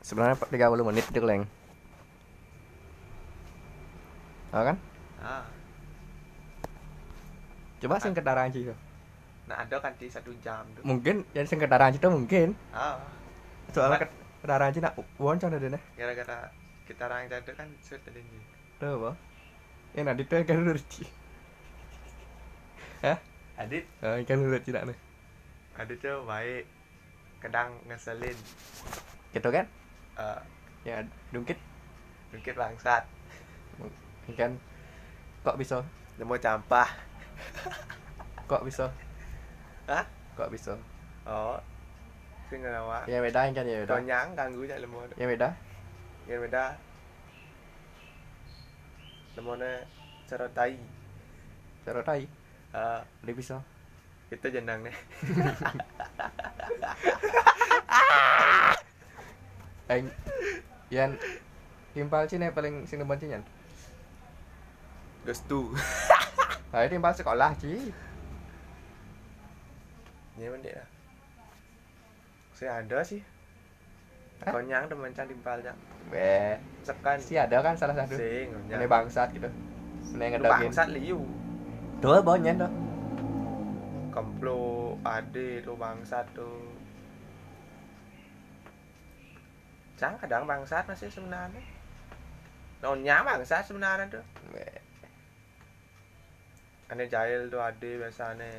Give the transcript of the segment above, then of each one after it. Sebenarnya 30 menit itu leng. Tahu kan? Ah. Coba sing ketarangan itu. Nah, ada kan di satu jam tuh. Mungkin yang sing ketarangan itu mungkin. Ah. Soalnya ket- ketarangan itu nak woncong ada nih. Gara-gara kita orang itu kan sulit tadi ini. Tuh apa? Ya nanti tuh kan udah rugi. Hah? Adit, Oh, ikan udah tidak nih. Adit tuh baik. Kadang ngeselin. Gitu kan? Eh, Ya dungkit mungkin bangsat. ikan kok bisa Nemu campah. kok bisa Hah? kok bisa Oh. Sing nama. ya beda ikan ya beda Tonyang ganggu cak lemu. ya beda Ya beda. Lemone cerotai. cara tai Eh, dia bisa itu jenang nih. Aing yang timpal cina paling sing demen cina Gustu. nah ini timpal sekolah ci Ini mendek lah. Saya ada sih. Hah? Konyang teman cang timpal cang. weh Sekan. si ada kan salah satu Sing, ini konyang. bangsat gitu ini Lu ngedogin bangsat liu. doa baunya tuh Kemplo, ade tuh bangsat tuh. Cang kadang bangsat masih sebenarnya. Nonya bangsat sebenarnya tuh. Weh, Ane jahil tuh ade biasane.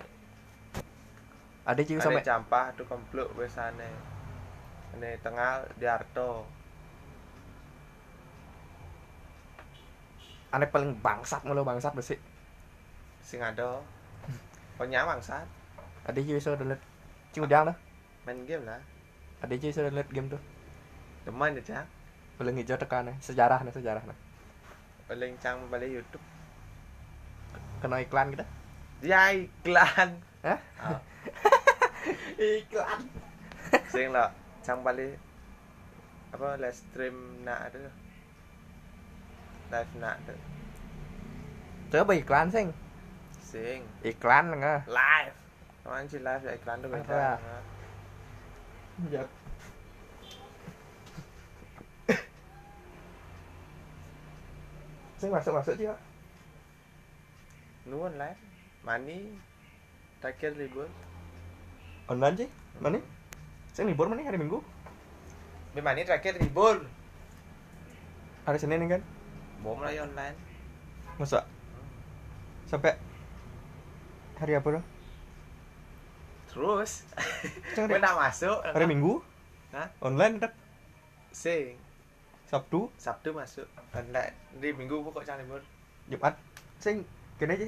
ada ci Ane sampai campah tuh kemplo biasane. Ane tengah diarto. aneh paling bangsat mulu bangsat bersih Sing ada. Konyang bangsat. ada ci bisa download ci udang tuh Main game lah. ada ci bisa download game tuh Teman ya cang. paling hijau tekan sejarah nah sejarah nah Paling cang balik YouTube. kena iklan gitu. kita Ya iklan. Hah? Ah. iklan sing lah sang bali apa live stream nak ada live nak ada coba iklan sing sing iklan nggak live Kawan sih live ya iklan tuh beda Apa? ya sing masuk masuk sih nuan live mani takir libur online sih mana sing libur mana hari minggu Bi mani terakhir libur hari senin kan bom lah ya online masa sampai hari apa dong terus Sing gue hari, nak masuk hari minggu Hah? online dek sing sabtu sabtu masuk online di minggu pokok cang libur jumat sing gini aja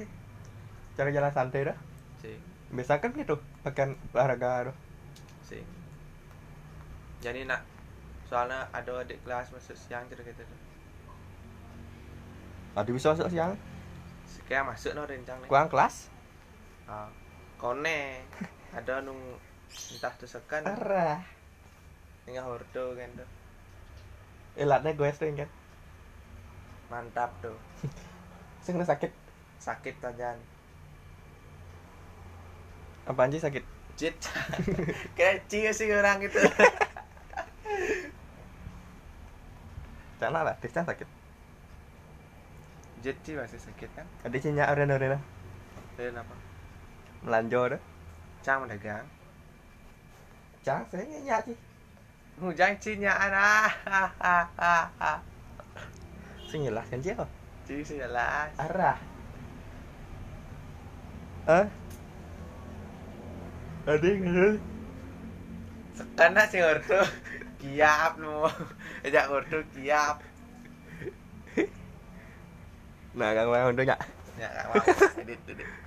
cara jalan santai dah sing biasa kan gitu pakaian olahraga dah sing jadi nak soalnya ada adik kelas masuk siang cerita gitu tuh ada bisa masuk siang sekian masuk no rencang nih kurang kelas Ah, kone ada nung entah tuh sekan arah tengah hordo kan tuh elatnya gue sering kan mantap tuh sing udah sakit sakit tanjan apa anjing sakit cit kecil sih orang gitu Cana lah, Tisna sakit. jit sih masih sakit kan Ada cinya arena arena dan apa melanjo ada. cang mendagang Cang saya nyak sih. hujang cinya ah, anak ah, Sing jelas kan cia. cing sih ya jelas Arah. Eh. Ada yang ngerti. sekan lah si hordo kiap nu ajak hordo kiap Nah, kang mau udah nyak. ya nggak mau edit edit